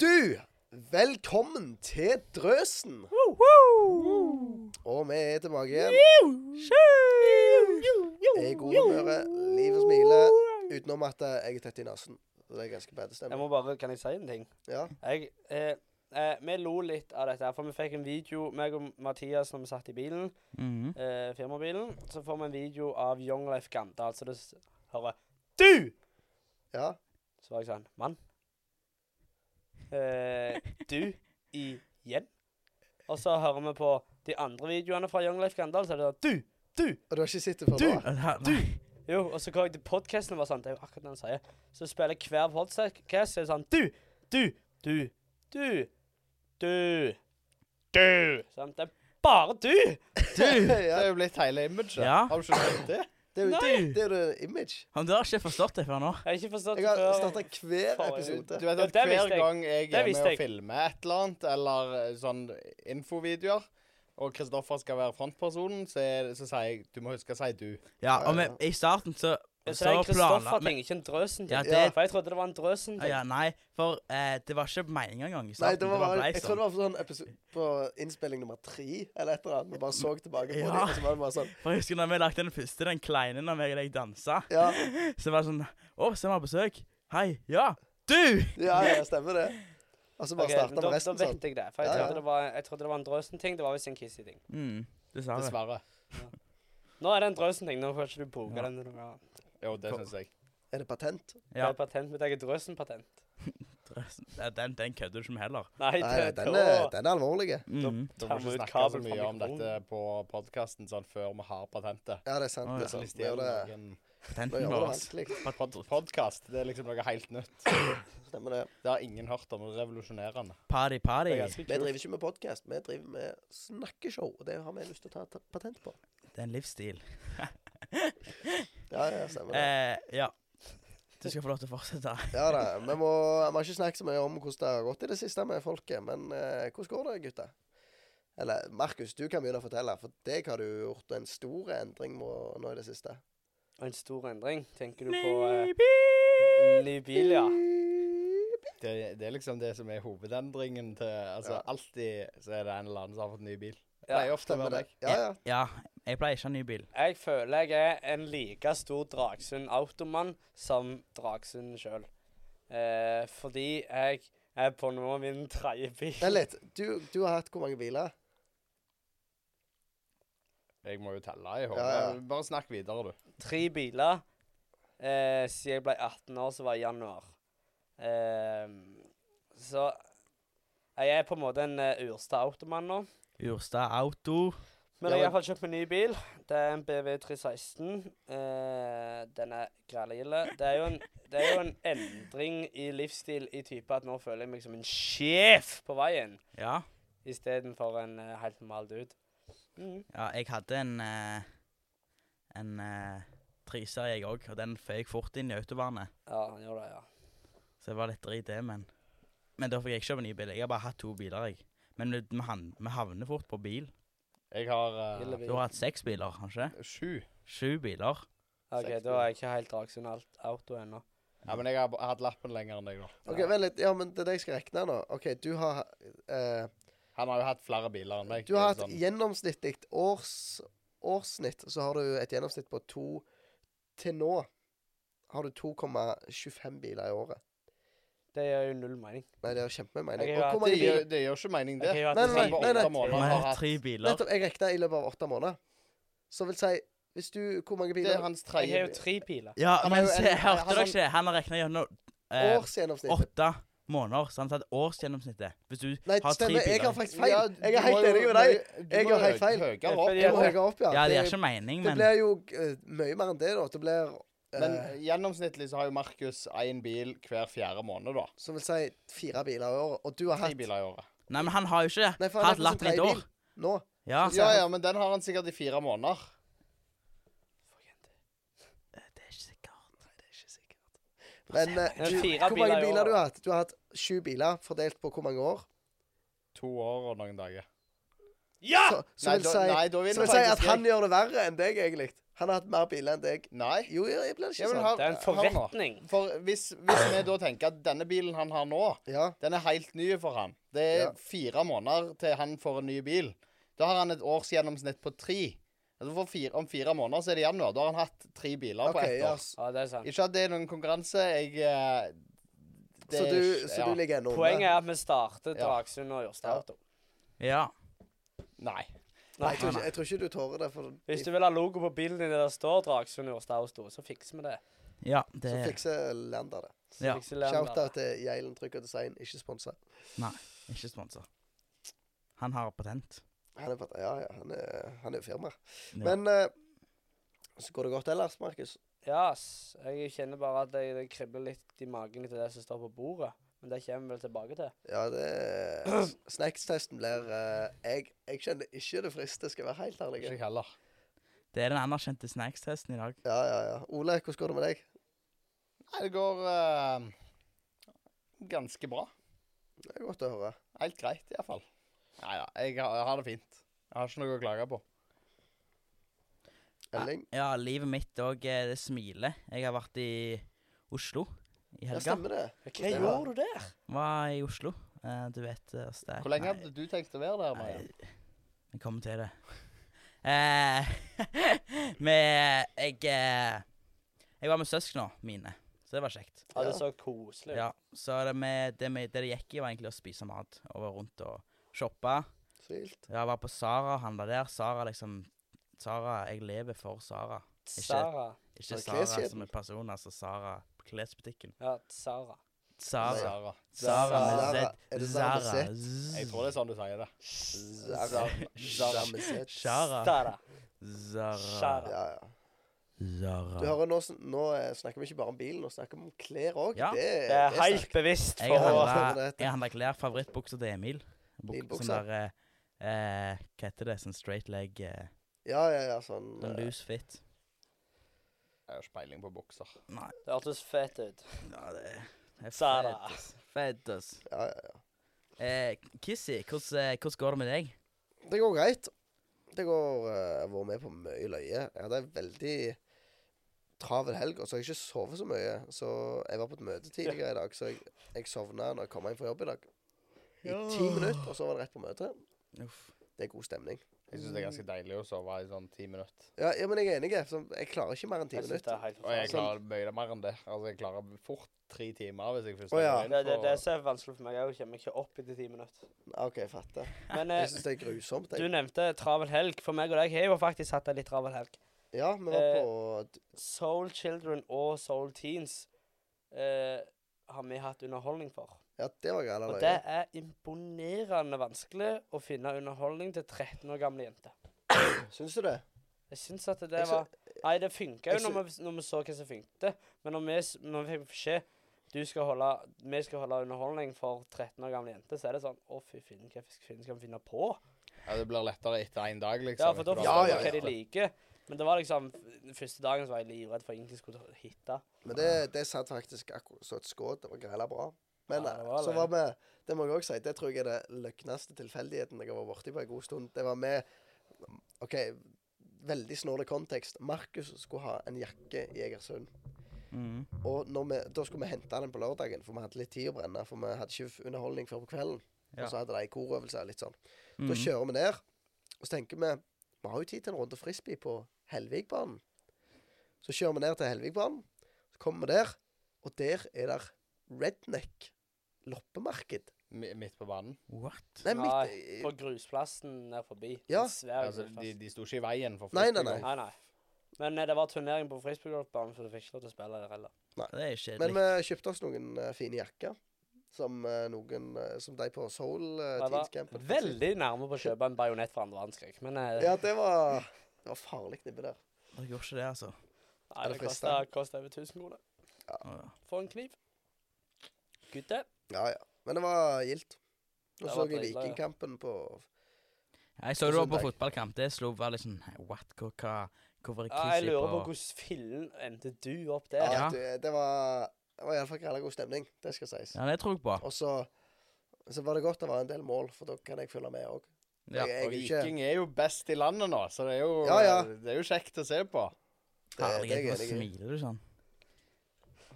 Du, velkommen til Drøsen. Og vi er tilbake igjen. Jeg er i god humør, livet smiler. Utenom at eh, jeg er tett i nesen. Så det er ganske bad Jeg stemning. må bare, Kan jeg si en ting? Ja. Jeg, eh, eh, vi lo litt av dette, her, for vi fikk en video, meg og Mathias, når vi satt i bilen, Mhm. eh, firmabilen, så får vi en video av Young Life Gandal, så det s- hører Du! ja. Så var jeg sånn, mann. Eh, du igjen? Og så hører vi på de andre videoene fra Young Life Gandal, så er det sånn, du, du, Og du har ikke sett det før Du! nå? Nei, Jo, og så går jeg til podcasten og var sånn, det er jo akkurat det han sier. Så spiller jeg hver podcast, så er det sånn, du, du, du, du, du, du. Sånn, det er bare du. Du! Det ja. er jo blitt hele imaget. Ja. Har du ikke sett det? Det er jo Nei. det er jo det image. Men du har ikke forstått det før nå. Jeg har ikke forstått Jeg det har før. starta hver Faen, episode. Du vet Ja, at det hver visste jeg. gang jeg Det er visste med jeg. og filmer et eller annet, eller eh, sånn infovideoer, og Kristoffer skal være frontpersonen, så, er, så sier jeg Du må huske å si du. Ja, og vi- Eh, i starten så Så det er planla en vi Kristoffer-ting, ikke en drøsen-ting. Ja, det- For jeg trodde det var en drøsen-ting. ja, Nei, for eh, det var ikke meninga engang i Nei, starten. det var bare, blei jeg tror sånn. det var sånn episode på innspilling nummer tre eller et eller annet. Vi bare så tilbake på Ja. det, og så var det bare sånn For jeg husker når vi lagde den første, den kleine, når jeg og deg dansa, Ja, så var det sånn Å, se, vi har besøk. Hei. Ja. Du! ja, ja stemmer det. Og så bare Ok, starta men da, vi da resten sånn. vet jeg det, for jeg Ja, ja. trodde det var, jeg trodde det var en drøsen-ting, det var visst en kissy-ting. Mm, dessverre. Dessverre. Nå er det en drøsen-ting, nå får ikke du bruke Ja. den. når du har- Jo, det syns jeg. Er det patent? Det Ja, er patent, mitt eget drøsen-patent. drøsen. Ja, den, den kødder du ikke med heller. Nei, det, Nei, den da- er, den er alvorlig. Mm. Du Ta må ikke med ut snakke så kabel fra mye om mikrofonen. dette på podkasten sånn før vi har patentet. Ja, det er sant. Å, Det ja. er sant. Hvis Nå det er gjør det, noen nå Patenten gjør det liksom. vår. vanskelig. pod Podkast, det er liksom noe helt nytt. Stemmer det. Det har ingen hørt om. og Revolusjonerende. Party, party. det er ganske Vi kult. driver ikke med podkast, vi driver med snakkeshow. Og det har vi lyst til å ta ta patent på. Det er en livsstil. Ja, ja, stemmer det. Eh, ja. Du skal få lov til å fortsette. Ja da, Vi må, vi har ikke snakket så mye om hvordan det har gått i det siste med folket, men eh, hvordan går det, gutta? Eller Markus, du kan begynne å fortelle, for deg har du gjort en stor endring må, nå i det siste. En stor endring, tenker du på eh, Nibi! ny bil, ja. Det, det er liksom det som er hovedendringen til Altså Ja. alltid så er det en eller annen som har fått ny bil. Det Ja, pleier ofte å Stemmer være det. meg. Ja, ja. Ja, jeg pleier ikke å ha ny bil. Jeg føler jeg er en like stor Dragsund automann som Dragsund sjøl. Eh, fordi jeg er på nå min tredje Vent bil. litt. Du, du har hatt hvor mange biler? Jeg må jo telle i hodet. Ja, ja. Bare snakk videre, du. Tre biler eh, siden jeg ble 18 år, som var i januar. Eh, så jeg er på en måte en eh, ursta automann nå. Urstad Auto. Men Ja, jeg har men- iallfall kjøpt meg ny bil. Det er en BV 316. Eh, den er grælgilde. Eh, Det, er jo en- det er jo en endring i livsstil i type at nå føler jeg meg som en sjef på veien Ja. istedenfor en eh, helt normal dude. Mm. ja, jeg hadde en eh, En eh, triser, jeg òg, og den føyk fort inn i autovernet. Ja, han gjør det, ja. Så det var litt drit, det, men Men da fikk jeg ikke kjøpe ny bil. Jeg har bare hatt to biler, jeg. Men vi, vi han- vi havner fort på bil. Jeg har eh, Ille Du bil. har hatt seks biler, kanskje? sju. Sju biler. OK, da er jeg ikke helt Dragsund alt auto ennå. Ja, men jeg har b- hatt lappen lenger enn deg nå. OK, Ja. vent litt. Ja, men det er det jeg skal regne nå. OK, du har eh, Han har jo hatt flere biler enn meg. Du har Det er sånn- et gjennomsnittlig års, årssnitt, så har du et gjennomsnitt på to Til nå har du 2,25 biler i året. Det gjør jo null mening. Nei, det er kjempemye mening. Jeg Og har hvor det, mange gjør, biler det gjør ikke mening, det. Jeg har Nei, hatt nei, nei, tre biler. nei. Åtte Vi måneder har har hatt hatt tre biler. Nettopp, jeg regna i løpet av åtte måneder. Så vil si Hvis du Hvor mange Det biler? er hans Jeg har tredje jo tre biler. Ja, Han har men jo se, en- han hørte har dere sånn- ikke? Han har regna gjennom eh, Årsgjennomsnittet. åtte måneder, så han har tatt årsgjennomsnittet. Hvis du Nei, har tre stemmer. Jeg har biler. faktisk feil. Jeg er helt enig med deg. Jeg har helt feil. Høyere Ja, opp. fordi Jeg må jeg- høyere opp, ja. Ja, det gir Det- ikke mening, Det men blir jo eh, mye mer enn det, da. Det blir eh, Men gjennomsnittlig så har jo Markus én bil hver fjerde måned, da. Som vil si fire biler i året. Og du har Tre hatt biler i året. Nei, men han har jo ikke Nei, for han hatt er sånn på sin lappen i et tredje år. bil nå. Ja, Ja, ja, men den har han sikkert i fire måneder. Eh, Det er ikke sikkert. Det er ikke sikkert. Men eh, Det er du, fire hvor mange biler i biler du året. har hatt? Du har hatt sju biler fordelt på hvor mange år? To år og noen dager. Ja! Så, så Nei, vil da- si, Ah! nei, da vinner så vil si at faktisk han jeg. gjør det verre enn deg, egentlig. Han har hatt mer biler enn deg. Nei. Jo, jeg blir det Ja, ikke sånn. men sant. har- Det er en hør nå. forretning. For hvis, hvis vi da tenker at denne bilen han har nå, Ja. den er helt ny for han. Det er Ja. fire måneder til han får en ny bil. Da har han et årsgjennomsnitt på tre. Altså for fire, om fire måneder så er det januar. Da har han hatt tre biler på OK. ett Ja. år. Ja, det er sant. Ikke at det er noen konkurranse. Jeg eh, det Så er du, ikke- så du ligger ennå Poenget er at vi starter Ja. Dragsund og Jørstad Ja. Auto. Ja. Nei. Nei, jeg tror, Nei, nei. ikke, jeg tror ikke du tårer det, for Hvis du vil ha logo på bilen din der det står Dragsund og Jørstad Auto, så fikser vi det. Ja, så det fikser Lander det. Så Ja. fikser Leander det. Shout-out til Jailen Trykk og Design, ikke sponsa. er ikke sponsa. Han har patent. Han er, pat- ja, ja, han er, han er jo firma. Ja. Men eh, så går det godt ellers, Markus. Ja, ass. Jeg kjenner bare at det, det kribler litt i magen til det som står på bordet. Men det kommer vi vel tilbake til. Ja, det Snackstesten blir eh, jeg, jeg kjenner ikke det frister, skal jeg være helt Ikke ærlig. jeg heller. Det er den anerkjente snackstesten i dag. Ja, ja, ja. Ole, hvordan går det med deg? Nei, det går eh, ganske bra. Det er godt å høre. Helt greit, iallfall. Nei da, jeg, har- jeg har det fint. Jeg har ikke noe å klage på. Elling? Ja, livet mitt òg det smiler. Jeg har vært i Oslo i Ja, helga. stemmer det. Hva Ja. gjorde du der? Var i Oslo. Eh, du vet eh, oss der. Hvor lenge Nei, hadde du tenkt å være der? Marianne? nei, Vi kommer til det. Eh, vi jeg, eh, jeg var med søsknene mine, så det var kjekt. Ja, det Ja. så koselig ut. Ja, så det, med, det, med, det det gikk i, var egentlig å spise mat og være rundt og shoppe. Svilt. Ja, Jeg var på Sara og handla der. Sara liksom Sara, Jeg lever for Sara. Sara. Ikke Og Sara kleskjeden. som en person, altså Sara på klesbutikken. Ja, Sara. Sara. Sara. Sara med Sara. Er det Z. Sara med Zara. Jeg tror det er sånn du sier det. Zara. Zara med Z. Sara. Sara. Zara. Sara. Ja, ja. Du Zara. hører, nå, sn- nå eh, snakker vi ikke bare om bilen, nå snakker vi om klær òg. Ja. Det, Det er snakk. helt bevisst Jeg for å handler- handla, Forberedt. jeg handla klær. Favorittbuksa til Emil. Buk- Din bukse. Sånn der eh, eh, Hva heter det? Sånn straight leg. Eh, Ja, ja, ja, sånn sånn eh, loose fit. Jeg har ikke peiling på bukser. Nei, Det hørtes fett ut. ja, det det er Sara. fett, ass. Fett, ass. ja, ja, ja. Eh, Kissy, hvordan eh, hvordan går det med deg? Det går greit. Det går eh, Jeg har vært med på mye løye. Jeg hadde en veldig travel helg, og så har jeg ikke sovet så mye. Så jeg var på et møte tidligere i dag, så jeg, jeg sovna når jeg kom hjem fra jobb i dag. I ti minutter, og så var det rett på møte. Uff. Det er god stemning. Jeg syns det er ganske deilig å sove i sånn ti minutter. Ja, ja men jeg er enig. så Jeg klarer ikke mer enn ti Jeg synes det minutter. er helt Og jeg forferdelig. klarer mye mer enn det. Altså, jeg klarer fort tre timer hvis jeg først Å, ja. går inn Det, det, det for- som er vanskelig for meg, er jo jeg kommer ikke opp etter ti minutter. OK, jeg fatter. Men Jeg eh, syns det er grusomt. du Jeg. nevnte travel helg. For meg og deg har jo faktisk hatt en litt travel helg. Ja, vi var eh, på Soul Children og Soul Teens eh, har vi hatt underholdning for. Ja, det var greia. Og det er imponerende vanskelig å finne underholdning til 13 år gamle jenter. Syns du det? Jeg syns at det Jeg sy- var Nei, det funka jo jeg når vi, når vi så hva som funket. Men når vi, s- når vi fikk beskjed du skal holde, vi skal holde underholdning for 13 år gamle jenter, så er det sånn Å, fy finn, hva f- finn skal vi finne på? Ja, det blir lettere etter én dag, liksom. Ja, for da etter Ja, forstår vi ja, ja. hva de liker. Men det var liksom Den første dagen så var jeg livredd for ingenting skulle hitte. Men det, det satt faktisk akkurat så et skudd. Det var greia bra. Men Ja, det var eh, så det. var vi Det må jeg òg si, det tror jeg er det løgneste tilfeldigheten jeg har vært borti på en god stund. Det var med OK, veldig snål kontekst. Markus skulle ha en jakke i Egersund. Mm. Og når vi, da skulle vi hente den på lørdagen, for vi hadde litt tid å brenne. For vi hadde ikke underholdning før på kvelden. Ja. Og så hadde de korøvelse litt sånn. Da Mm. kjører vi ned, og så tenker vi Vi har jo tid til en runde frisbee på Helvikbanen. Så kjører vi ned til Helvikbanen, så kommer vi der, og der er der redneck loppemarked. Mi- Midt på banen. What? Nei, Nei, midt i- På grusplassen der forbi. Ja. En svær Altså, grusplass. de, de sto ikke i veien for Nei, nei, frisbeegolf. Nei, nei. Men eh, det var turnering på frisbeegolfbanen, så du fikk ikke lov til å spille der heller. Det er kjedelig. Men vi kjøpte oss noen eh, fine jakker. Som, eh, noen, eh, som de på Soul uh, Det var Teenscampen. Veldig nærme på å kjøpe en bajonett for andre verdenskrig, men eh, Ja, det var, det var farlig nibbe der. Dere gjorde ikke det, altså. er nei, det det kosta fristende? kosta over 1000 kroner Å, ja. for en kniv. Gutte. Ja, ja. Men det var gildt. Og Det så var jeg dritbra, ja. Vikingkampen på Jeg så du var på Søndag. fotballkamp. Det slo bare liksom Nei, What? Hva, hva, hvorfor er Ja, jeg Kissy lurer på på hvordan fillen endte du opp Ja, der. Ja. Det, det var, det var iallfall grella god stemning. Det skal sies. Ja, det tror jeg på. Og så, så var det godt det var en del mål, for da kan jeg følge med òg. Ja. Jeg, jeg, Og er ikke- Viking er jo best i landet nå, så det er jo, Ja, ja. Det er jo kjekt å se på. Det, det er Herlighet, jeg nå enig i. smiler du sånn.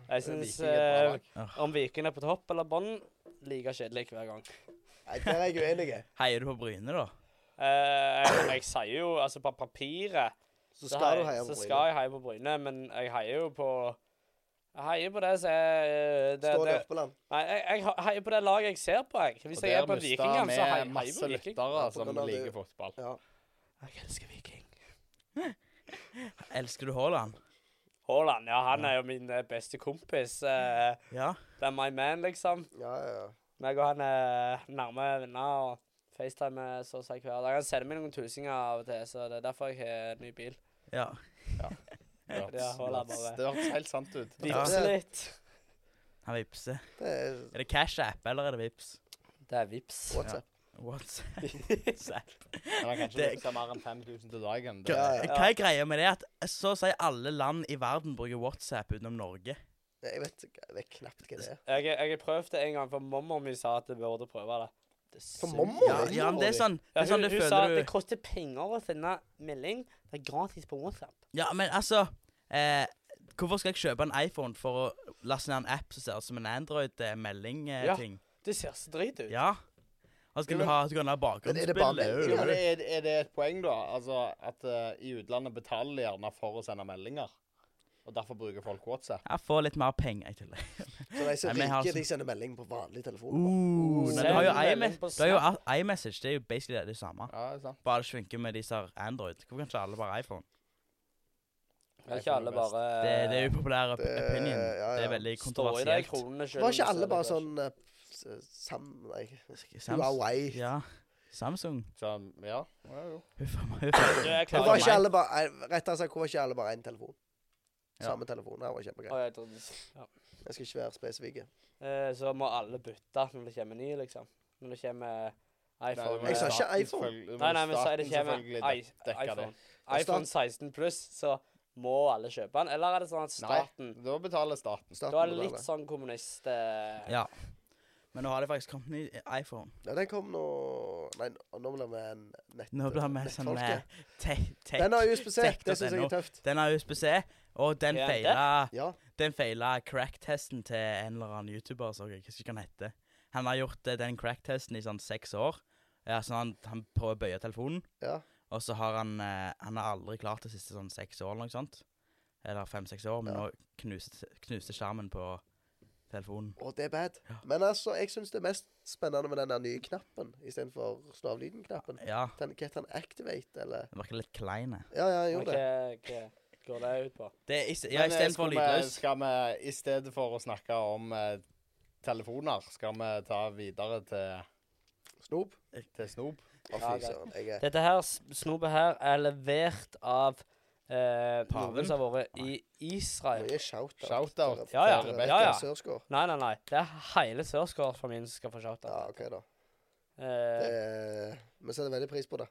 Jeg Viking er syns et bra lag. om Viking er på topp eller bånn, like kjedelig hver gang. Nei, der er jeg uenig. Heier du på Bryne, da? Eh, jeg, jeg sier jo altså på papiret Så så skal hei- du heie på Så skal Bryne. jeg heie på Bryne, men jeg heier jo på Jeg heier på det som er eh, det, Står det, det Jørpeland? Nei, jeg, jeg heier på det laget jeg ser på, jeg. Hvis Og jeg der er på en mister vikingkamp, vi så heier heier jeg masse på Viking. lyttere Ja, på som grunn av det. liker fotball. Ja. Jeg elsker Viking. Elsker du Haaland? Haaland, ja, han er jo min eh, beste kompis. eh, Ja. Det er my man, liksom. Ja, ja, ja. Meg og han er nærme venner og FaceTime så å si hver dag. Han sender meg noen tusinger av og til, så det er derfor jeg har ny bil. Ja. Det Ja, Haaland hørtes bare- det hørtes helt sant ut. Vipse litt. Han vipser. Det er Er det cash-app, eller er det vips? Det er vips. WhatsApp. WhatsApp. Men han kan ikke Det- bruke mer enn 5000 til dagen. Det, Ja, ja. Hva er greia med det at så å si alle land i verden bruker WhatsApp utenom Norge? Jeg vet ikke- jeg vet knapt hva det er. Jeg, jeg har prøvd det en gang, for mormor mi sa at jeg burde prøve det. det For suger. mormor? Ja, ja men det er sånn det Ja, er hun sånn du hun sa at føler det du koster penger å sende melding. Det er gratis på WhatsApp. Ja, men altså eh, Hvorfor skal jeg kjøpe en iPhone for å laste ned en app som ser ut som en Ja. Android-melding-ting? Det ser så drit ut. Ja. Og så skal Men- du ha, du kan ha Men er det bare bakgrunnsbilde. meldinger? jo. men er, er det et poeng, da? Altså At eh, i utlandet betaler de gjerne for å sende meldinger. Og derfor bruker folk WhatsApp. Ja, få litt mer penger i tillegg. Så de som Nei, men jeg har riker, altså- de sender melding på vanlig telefon. Uh, Send men du har jo melding iMe- på du har jo i- iMessage. Det er jo basically det, det samme. Ja, det er sant. Bare det ikke funker med de som har Android. Hvorfor kan ikke alle bare iPhone? Kan ikke alle bare Det, det er upopulære det- opinion. ja, ja. Det er veldig stå i de kontroversielt. kronene selv? Var om du ikke alle ser bare det først? sånn eh, s- Sam... Nei, Sams- Huawei. Ja. Samsung. Så, ja. ja jo. Huff a meg, huff a meg. Du, jeg Hvorfor var klarer ikke meg. alle bare eh, Rettere sagt, hvorfor var ikke alle bare én telefon? Ja. Samme telefon. Det var kjempegreit. Å, jeg trodde- ja. Jeg skal ikke være spesifikk. Eh, Så må alle bytte når det kommer ny, liksom. Når det kommer iPhone Jeg sa eh, ikke iPhone. Nei, nei, men si det kommer i- dekker iPhone. det. iPhone 16 pluss, så må alle kjøpe den. Eller er det sånn at staten Da betaler staten. Da er det litt sånn kommunist eh, Ja. Men nå har det faktisk kommet ny iPhone. Ja, den kom nå Nei, nå- nå blir vi en nett... Nå blir vi sånn nettfolke. eh, te- te- Den har USB-C. Det syns jeg tech.no. er tøft. Den har USB-C, og den Ja, feila Ja. Den feila crack-testen til en eller annen YouTuber, så jeg ikke hva han heter. Han har gjort eh, den crack-testen i sånn seks år. Ja, så han, han prøver å bøye telefonen, ja. og så har han eh, Han har aldri klart det siste sånn seks år eller noe sånt. Eller fem-seks år, men Ja. nå knuste, knuste skjermen på telefonen. Og det er bad. Men altså, jeg syns det er mest spennende med den der nye knappen istedenfor slå av lyden-knappen. Ja. Den Hva heter den? Activate, eller Den virker litt klein. eh. Ja, ja, han men gjorde det. Hva hva går det ut på? Det er i st- ja, istedenfor lydløs. eh, Skal vi i stedet for å snakke om eh, telefoner, skal vi ta videre til, Snop. til snop? Å, Ja, fy greit. søren. Jeg er Dette her, s- snopet her er levert av eh, Paven? noen som har vært i Israel. mye shout-out. Shout-out Ja, ja. til Rebekka Ja, Rebekka. ja. Sørsgaard. Nei, nei, nei. Det er hele Sørskolen-familien som skal få Ja, shout-out. OK, da. Det, Eh, vi setter veldig pris på det.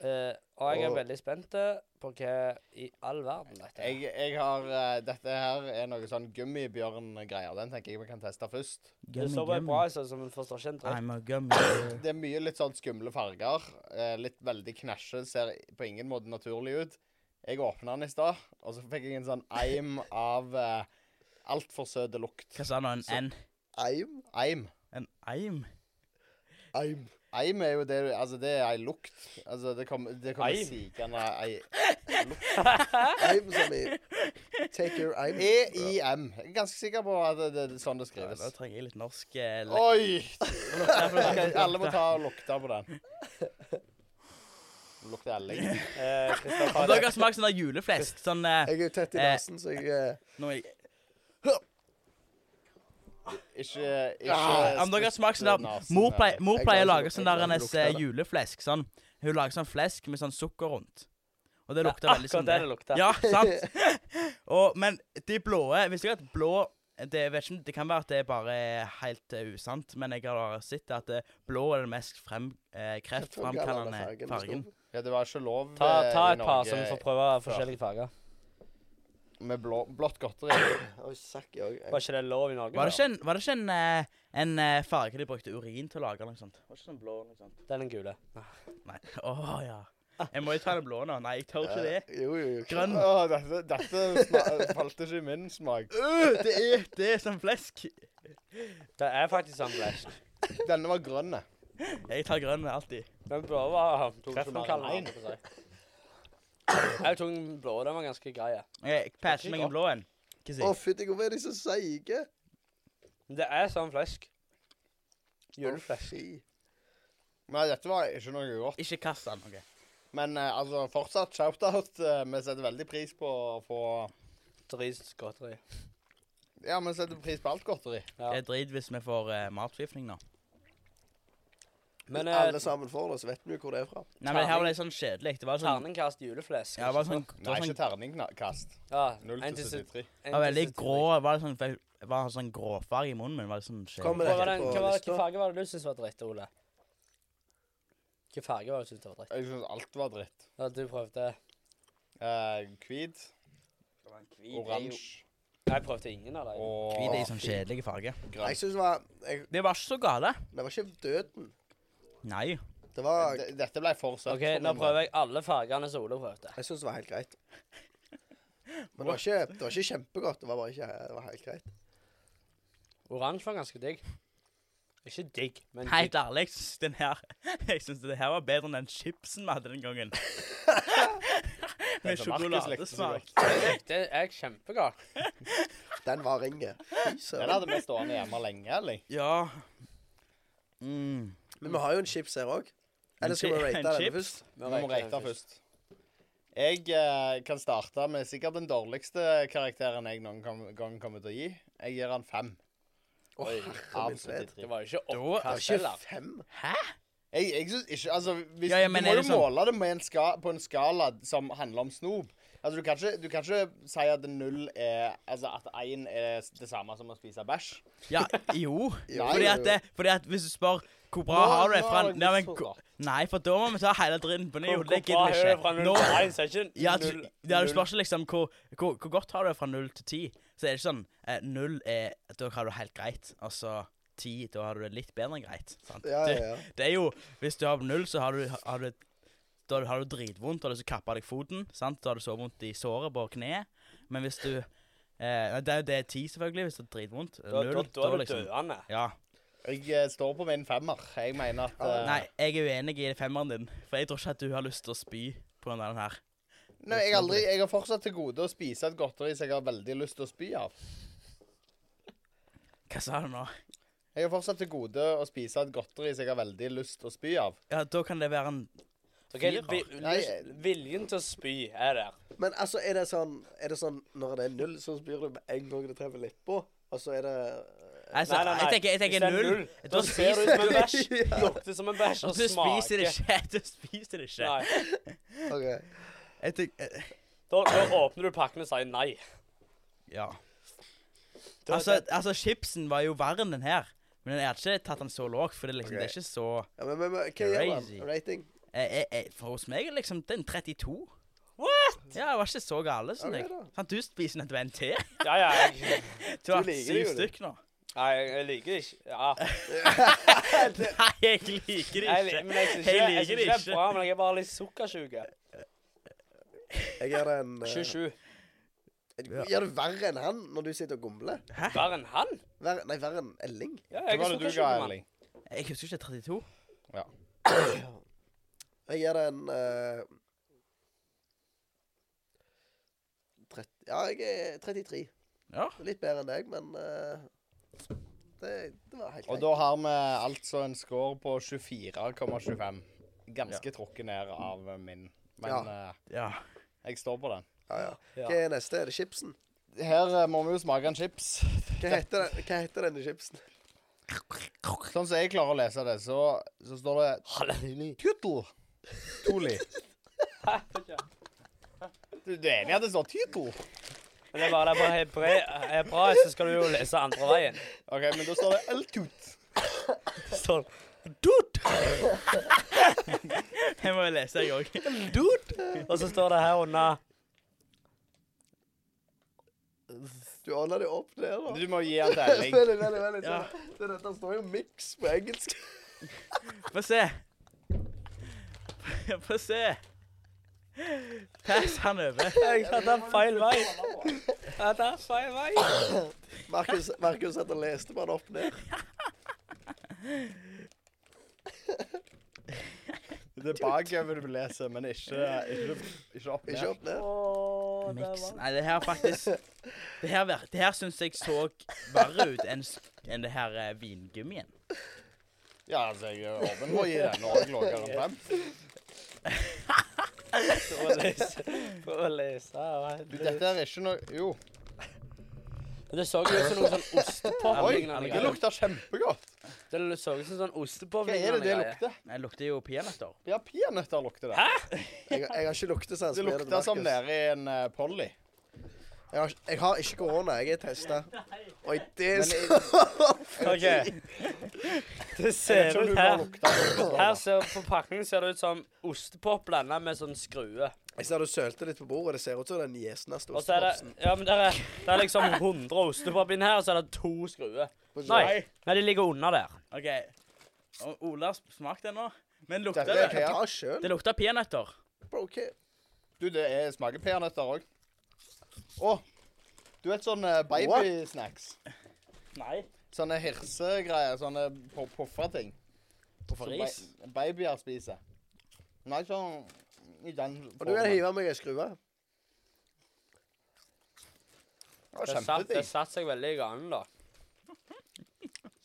eh, og jeg er og- veldig spent eh, på hva i all verden dette er. Jeg, jeg har eh, Dette her er noe sånn gummibjørn-greier. Den tenker jeg vi kan teste først. Det står bare bra, sånn som en forstår ikke en dritt. I'm a gummy. Det er mye litt sånn skumle farger. eh, Litt veldig knæsje. Ser på ingen måte naturlig ut. Jeg åpna den i stad, og så fikk jeg en sånn eim av eh, altfor søt lukt. Hva sa han nå? En N? I'm, Eim. En eim? I'm. Eim er jo det du Altså, det er ei lukt. Altså, det kommer det kommer Eim? sigende ei I'm som i Take your I'm. E EIM. E Jeg er ganske sikker på at det, det er sånn det Ja, skrives. Nå trenger jeg litt norsk eh, le- Oi! Derfor skal jeg- Alle må ta og lukte på den. Lukter elg. Eh, Kristoffer, Har dere smakt sånn der juleflesk? Sånn eh, Jeg er jo tett i Eh. nesen, så jeg eh, nå er jeg, Ikke, ikke ah, Om dere har smakt sånn der nasen eh. Mor her. pleier, mor Jeg pleier å klarer lage ikke- sånn jeg der klarer ikke hennes å lukte eh, det. juleflesk. Sånn. Hun lager sånn flesk med sånn sukker rundt. Og det det er lukter veldig akkurat sånn det det lukter. Ja, sant? Og, men de blå Visste dere at blå det, jeg vet ikke, om- det kan være at det er bare er helt eh, usant, men jeg har sett at eh, blå er den mest frem, eh, kreftfremkallende fargen, fargen. snop. Ja, det var ikke lov Ta, eh, ta i et par Norge som får prøve forskjellige farger. med blå, blått godteri. Oi, sakk, jeg òg. Var ikke det lov i Norge? Var det før? ikke en, var det ikke en, eh, en eh, farge de brukte urin til å lage? eller noe sånt? Var det ikke sånn blå eller noe sånt? Den er gule. Nei. Åh, ja. Jeg må jo ta den blå nå. Nei, jeg tør ikke det. Jo, jo, jo. Grønn. Åh, dette dette sma- eh, falt ikke i min smak. Øh, det er, det er som flesk. Det er faktisk sånn flash. Denne var grønn. eh. Jeg tar grønn alltid. Den blå var Kreftfremkallende. kreftfremkallende. Jeg tok den blå, den var ganske grei. ja. Jeg passer meg en blå en. Hva Å, sier fytti, hvorfor er de så seige? Men Det er sånn flesk. Juleflesk. Juleflesk. Nei, dette var ikke noe godt. Ikke kast den. ok. Men eh, altså, fortsatt shout-out. Eh, vi setter veldig pris på å få Drit godteri. Ja, vi setter pris på alt godteri. Ja. Det er drit hvis vi får uh, matforgiftning nå. Men eh, Alle sammen får det, så vet vi hvor det er fra. Nei, men her var det sånn kjedelig. Det var sånn, terningkast juleflesk. ja, det var sånn, det Nei, var ikke sånn, terningkast. Ja, 0 en til til 73. en det var til veldig 73. grå. Det var sånn, det var sånn gråfarge i munnen min. Var det sånn Kom kjedelig. med Hva var dette den, på hva var, hva lista. farge var det du syntes var dritt, Ole? Hvilken farge var det du syntes var dritt? Jeg syns alt var dritt. Ja, du prøvde. Eh, Hvit, oransje Jeg prøvde ingen av dem. og Hvit i sånn kjedelig farge. Jeg grønn. synes det var jeg, Det var ikke så gale. Det var ikke døden. Nei. Det var D- Dette ble for søtt. OK, nå prøver jeg alle fargene som Ole prøvde. Jeg syns det var helt greit. Men det var, ikke, det var ikke kjempegodt. Det var bare ikke det var helt greit. Oransje var ganske digg. Ikke digg, men digg. Helt ærlig, jeg syns den her Jeg synes det her var bedre enn den chipsen vi hadde den gangen. Med sjokoladesmak. Jeg likte jeg kjempegodt. Den var ringe. Fy Den søren. hadde vi stående hjemme lenge, eller? Ja. Mm. Men vi har jo en chips her òg. Eller skal En vi chi- rate en denne chips? først? Vi må rate først. Jeg eh, kan starte med sikkert den dårligste karakteren jeg noen kom- gang kommer til å gi. Jeg gir han fem. Åh, Oi, herre min Av fred. 73. Det var jo ikke Det var oppkast ikke heller. fem. Hæ? Jeg, jeg synes ikke, altså, hvis, Ja, ja, Du men må er jo det sånn- måle det med en ska, på en skala som handler om snop. Altså, du, kan ikke, du kan ikke si at null er Altså at én er det samme som å spise bæsj. Ja, jo. Jo, Fordi jo, at, jo. det, fordi at hvis du spør hvor bra Nå- har du det nå fra har jeg Nei, men, misforstått. hvor- nei, for da må vi ta hele dritten på ny, og det gidder vi Fra ikke. null Nå, til en, så er det ikke ja, du, null. ja, du null. spør ikke liksom hvor, hvor, hvor godt har du det fra null til ti. Så er det ikke sånn eh, Null er Da har du det helt greit. Og så ti, da har du det litt bedre enn greit. Sant? Ja, Du- ja, ja. Det er jo Hvis du har null, så har du, har du, da har du dritvondt. Da har du så kappa deg foten. sant? Da har du så vondt i såret på kneet. Men hvis du eh, nei, Det er jo det er ti, selvfølgelig, hvis det er dritvondt. Da, da, Null, da er du liksom døende. Ja. Jeg eh, står på min femmer. Jeg mener at eh, Nei, jeg er uenig i femmeren din, for jeg tror ikke at du har lyst til å spy på den der her. nei, jeg, har aldri, jeg har fortsatt til gode å spise et godteri som jeg har veldig lyst til å spy av. Hva sa du nå? Jeg har fortsatt til gode å spise et godteri som jeg har veldig lyst til å spy av. Ja, da kan det være en Ok, Fire. vi, Nei, lyst- viljen til å spy er der. Men altså, er det sånn Er det sånn når det er null, så spyr du med en gang det treffer leppa, og så er det Altså, Nei, nei, nei. jeg tenker, jeg Hvis tenker det er null. null, Da Da ser du spiser ut som en du bæsj. Lukter som en bæsj Du og spiser det smaker. ikke. Du spiser det ikke. Nei. OK. Jeg eh, tenker, Da, da åpner du pakken og sier nei. ja. Da- Altså, altså, chipsen var jo verre enn den her. Men jeg hadde ikke tatt den så lågt, for det, liksom, Ok. det er ikke så Ja, men, men, men hva gjør man? Crazy. Rating? jeg, jeg, jeg, For hos meg er det liksom den 32. What? Ja, jeg var ikke så gale som Ok, deg. da. Sånn, du spiser nettopp en te. Ja, ja. Jeg, Du har hatt liker syv det jo, du. stykk nå. nei, jeg liker det ikke. Ja. Nei, jeg liker det Jeg, ikke. li- men jeg syns Jeg ikke, liker jeg synes det ikke det ikke. er bra, men jeg er bare litt sukkersjuk. Jeg gjør det en eh, 27. Gjør du verre enn han når du sitter og gomler? Verre enn han? Verre, nei, verre enn Elling? Ja, Hva jeg er var det du sukkersjuk, ga, mann. Erling? Jeg husker ikke 32. Jeg gir det en eh, 30, Ja, jeg er 33. Ja. Litt bedre enn deg, men eh, det, det var helt Og greit. da har vi altså en score på 24,25. Ganske trukket ned av eh, min. Men eh, Ja. jeg står på den. Ja, ja. Ja. Hva er neste? Er det chipsen? Her eh, må vi jo smake en chips. Hva heter, den, hva heter denne chipsen? Sånn som jeg klarer å lese det, så, så står det Tytel. Toli. Du, du er enig i at det står Tytel? Men det er bare det er på hebre, hebraisk, så skal du jo lese andre veien. OK, men da står det Eltut. Sånn. Jeg må jo lese, jeg òg. Og så står det her under Du ordner det opp der, da. Du må gi han til Veldig, Elling. veldig, veldig. Ja. sånn. Det, dette står jo mix på engelsk. Få se. Få se. Pass han over. Jeg hadde feil vei. Jeg hadde feil vei. Markus, Markus satt og leste bare opp ned. Det er bakover du leser, men ikke, ikke, ikke opp Ikke ned. opp ned. Åh, det Miks. var Nei, det her faktisk Det her, vir- det her syns jeg så verre ut enn s- enn det her eh, vingummien. Ja, altså, jeg er åpen for å gi den òg lavere enn fem. For å lese. For å lese. ja. Du, dette er ikke noe Jo. Det så jo ut som noe sånn Oi, ostepop-lignende det greier. lukter kjempegodt. Det så ut som sånn Hva er ostepop-lignende det det lukter? Det lukter jo peanøtter. Ja, peanøtter lukter det. Jeg, jeg har ikke luktesans. Det men er lukter som Markus? nede i en eh, Polly. Jeg har, jeg har ikke korona. Jeg er testa. Oi, det er så OK. Det Jeg vet ser ikke om ut du bare her lukter det. Her ser På pakningen ser det ut som ostepop blanda med sånn skrue. Jeg ser du sølte litt på bordet. Det ser ut som den gjesneste Og så er det ostepopsen. Ja, men der er, det er liksom 100 ostepop inn her, og så er det to skruer. Nei. Nei, de ligger under der. OK. Og Ola sm- smakte den nå. Men lukter Dette Det er det? kan jeg peanøtter. ta sjøl. Det lukter peanøtter. Bro, hva Du, det er, smaker peanøtter òg. Å, du vet sånne babysnacks? Nei. Sånne hirsegreier. Sånne po- poffa ting. Hvorfor Som ris? ba- babyer spiser. Nei, sånn i den Og du kan hive meg ei skrue. Det var Det satt, det kjempedigg. satt seg veldig i ganen, da.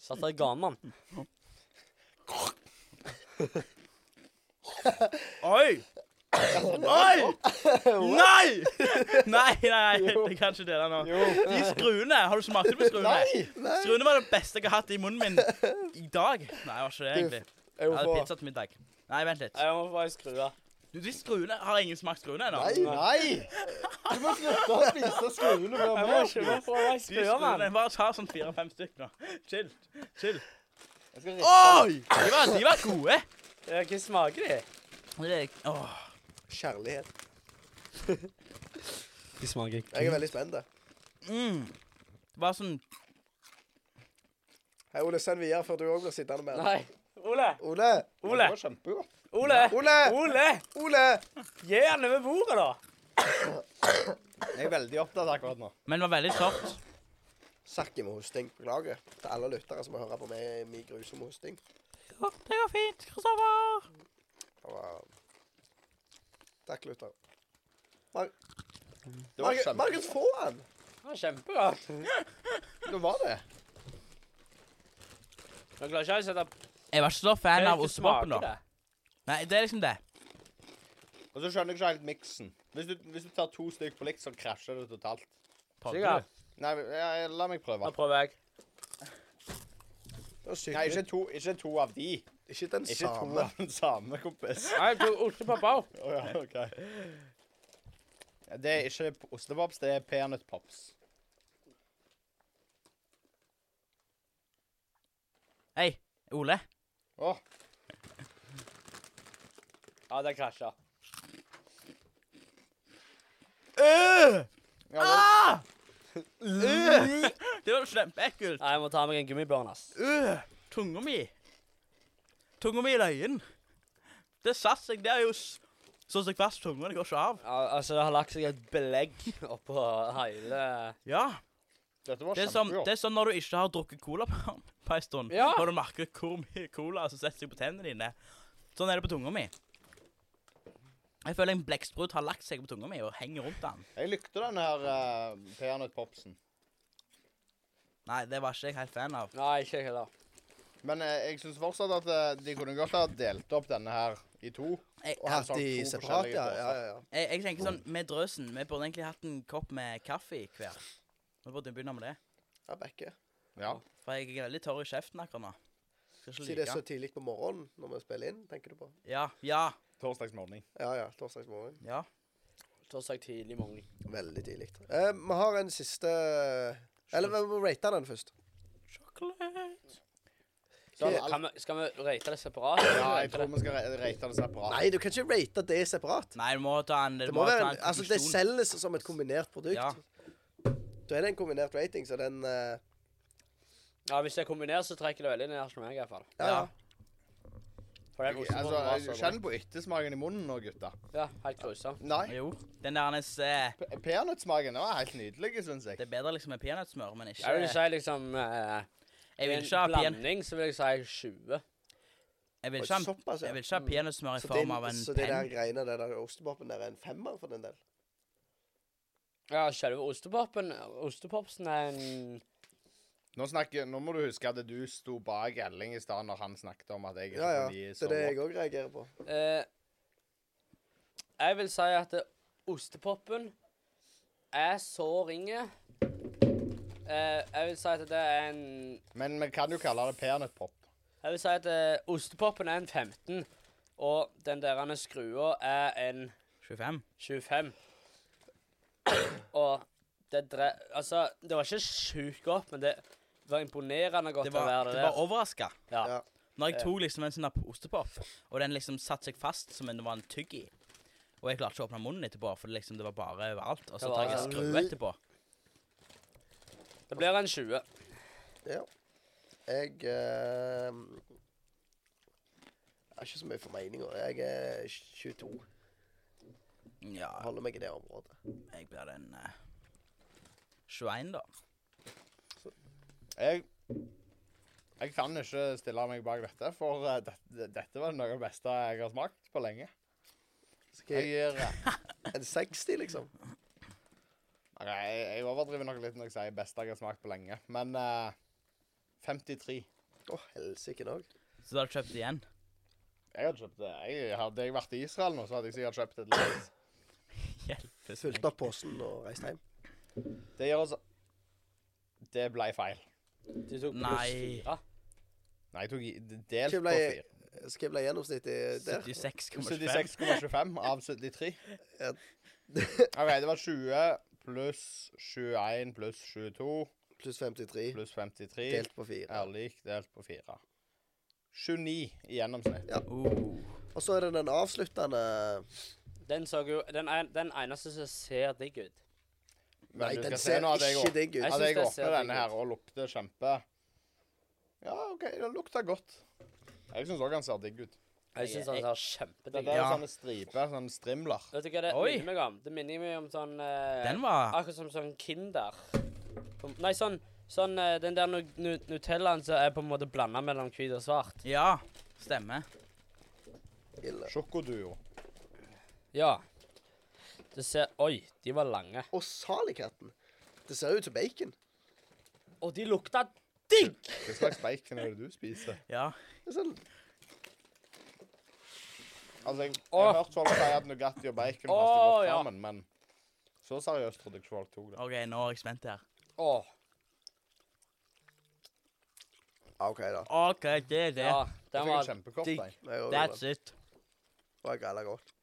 Satt seg i ganen. Oi! Oi! Nei! Nei, nei, jeg kan ikke dele nå. De skruene, har du smakt på skruene? Nei! Skruene var det beste jeg har hatt i munnen min i dag. Nei, det var ikke det, egentlig. Jeg Jeg må hadde få pizza til middag. Nei, vent litt. Jeg må få ei skrue. Du, de skruene, Har ingen smakt skruene ennå? Nei, nei! Du må slutte å spise skruene før Jeg må mat. ikke må få ei De skrue, skruene, mann. Bare ta sånn fire-fem stykk nå. Chill. chill. Jeg skal Oi! De var, de var gode. Ja, Hva smaker de? Det, åh. kjærlighet. De smaker Jeg er veldig spent. da. Mm. Det var sånn Hei, Ole, send videre før du òg blir sittende med den. Nei. Ole! Ole! Ole! Det var kjempegodt. Ole! Ole! Ole! Ole! Gi han over bordet, da. Jeg er veldig opptatt akkurat nå. Men det var veldig sårt. Sakki med hosting. Beklager til alle lyttere som hører på meg i min grusomme hosting. Det går fint, Kristoffer. Det var- Takk, lytter. Det var Markus- kjempe... Markus, få han! Ja, Kjempegodt. Det var det. Jeg klarer ikke å sette Jeg var ikke så fan av ostepopen, da. da. Nei, det er liksom det. Og så skjønner jeg ikke helt miksen. Hvis du, hvis du tar to stykker på likt, så krasjer det totalt. Sikkert. Nei, jeg, la meg prøve. Da prøver jeg. Det var sykt. Nei, ikke to, ikke to av de. Ikke den Ikke to samme. av den samme, kompis. Nei, jeg tok ostepop òg. Å ja, OK. Ja, Det er ikke ostepops, det er peanøttpops. Hei, Ole. Å, Ja, det krasja. Øh! ja, vel. Ah! Øh! Det var kjempeekkelt. Nei, jeg må ta meg en gummibjørn, ass. Øh! Tunga mi. Tunga mi i løyen. Det satt seg der jo s- sånn som fast tunga. Det går ikke av. Ja, altså, det har lagt seg et belegg oppå hele Ja. dette var Det er, som, kjempegodt. det er som når du ikke har drukket cola på, på en stund. Ja. Når du merker hvor mye cola som setter seg på tennene dine. Sånn er det på tunga mi. Jeg føler en blekksprut har lagt seg på tunga mi og henger rundt den. Jeg likte denne her eh, peanøttpopsen. Nei, det var ikke jeg helt fan av. Nei, ikke jeg heller. Men eh, jeg syns fortsatt at eh, de kunne godt ha delt opp denne her i to. Jeg, Og hatt de separat, ja. ja, ja, ja. Jeg, jeg tenker sånn, med drøsen, vi burde egentlig hatt en kopp med kaffe i hver. Vi burde begynne med det. Ja, Bekke. Ja. For jeg er veldig tørr i kjeften akkurat nå. Skal ikke Si det er like. så tidlig på morgenen når vi spiller inn, tenker du på? Ja, ja, Torsdagsmorgen. Ja, ja. Torsdags morgen. ja. Torsdag tidlig morgen. Veldig tidlig. Eh, vi har en siste Eller vi må rate den først. Sjokolade. Så er det alt- Kan vi, skal vi rate det separat? Ja, jeg tror vi skal re- rate det separat. Nei, du kan ikke rate det separat. Nei, du må ta en, Det må være ta en, en altså, det konklusjon. selges som et kombinert produkt. Ja. Da er det en kombinert rating, så den eh, Ja, Hvis jeg kombinerer, så trekker det veldig ned for meg. i hvert fall. Ja, ja. Ja. For For det Jeg- ostebollen var så Altså, god. kjenn på yttersmaken i munnen nå, gutta. Ja, helt grusomt. Nei, Jo, den der hans eh, pe- peanøttsmaken den var helt nydelig, syns jeg. Det er bedre liksom med peanøttsmør, men ikke Jeg vil si liksom eh, Jeg vil ikke ha En pean- blanding så vil jeg si 20. jeg vil Oi, ikke ha- såpass, ja. jeg vil ikke ha peanøttsmør i Så form av det, en så det der penn. greiene, det der ostepopen der, er en femmer for den del? Ja, selve ostepopen Ostepopsen er en Nå, snakker, nå må du huske at du sto bak Elling i stad når han snakket om at jeg ikke Ja, ja. kunne gi Det er det sommer. jeg òg reagerer på. eh, Jeg vil si at det- ostepopen er så ringe. Eh, jeg vil si at det er en Men vi kan jo kalle det peanøttpop. Jeg vil si at eh, ostepopen er en 15, og den der skrua er en 25. 25. Og det dre... Altså, det var ikke sjukt godt, men det var imponerende godt Det var, å være det, det var overraska. Ja. Ja. Når jeg Eh. tok liksom en sånn der ostepop, og den liksom satte seg fast som en det var en tygg i Og jeg klarte ikke å åpne munnen etterpå, for det liksom det var bare overalt. Og så Det var- tar sånn- jeg en skrue etterpå. der. Det blir en 20. Ja. Jeg eh, har ikke så mye formeninger. Jeg er 22. Ja, Holder meg i det området. jeg blir den eh, 21, da. Jeg, jeg kan ikke stille meg bak dette, for eh, dette, dette var noe av det beste jeg har smakt på lenge. Jeg Skal jeg, gir eh, en 60, liksom? ok, jeg, jeg overdriver nok litt når jeg sier beste jeg har smakt på lenge, men eh, 53. Å, helsike òg. Så da har du kjøpt igjen. Jeg hadde kjøpt det. Jeg, hadde jeg vært i Israel nå, så hadde jeg sikkert kjøpt et lass. Hjelpes meg. Fylte opp posen og reiste hjem. Det gjør altså Det ble feil. De tok pluss Nei. 4. Nei, jeg tok i- delt Ikke på ble- fire. Skal jeg bli gjennomsnittet der? 76,5. 76,25 av 73. Ja. OK, det var 20 pluss 21 pluss 22 Pluss 53. pluss 53. Delt på 4. Er lik delt på 4. 29 i gjennomsnitt. Oh. Og så er det den avsluttende Den, så jo, den, er, den eneste som ser digg ut. Men Nei, du den skal se ser nå at jeg, ikke åp- digg Jeg ut. at jeg synes det ser digg åpner denne her ut. og lukter kjempe Ja, OK, det lukter godt. Jeg syns òg han ser digg ut. Jeg syns den ser kjempedigg Det ut. er Ja. sånne striper, sånne strimler. Vet du hva det Oi. minner meg om? Det minner meg om sånn eh, Den var Akkurat som sånn Kinder. Som- Nei, sånn, sånn eh, den der nu, nu, Nutellaen som er på en måte blanda mellom hvit og svart. Ja, stemmer. Ille. Sjokoduo. Ja. Det ser Oi, de var lange. Og salikatten. Det ser ut som bacon. Og de lukta digg! Hva slags bacon er det du spiser? Ja. Det er sånn Altså, jeg, jeg Åh. har hørt folk si at Nugatti og bacon passer Åh, godt ja. sammen, men så seriøst trodde jeg ikke folk tok det. OK, nå er jeg spent her. Åh, Ja, Ah, OK, da. OK, det er det. ja. Jeg Den fikk en var kjempekopp, digg. jeg. Jeg gjorde det. That's it. Det var grella godt.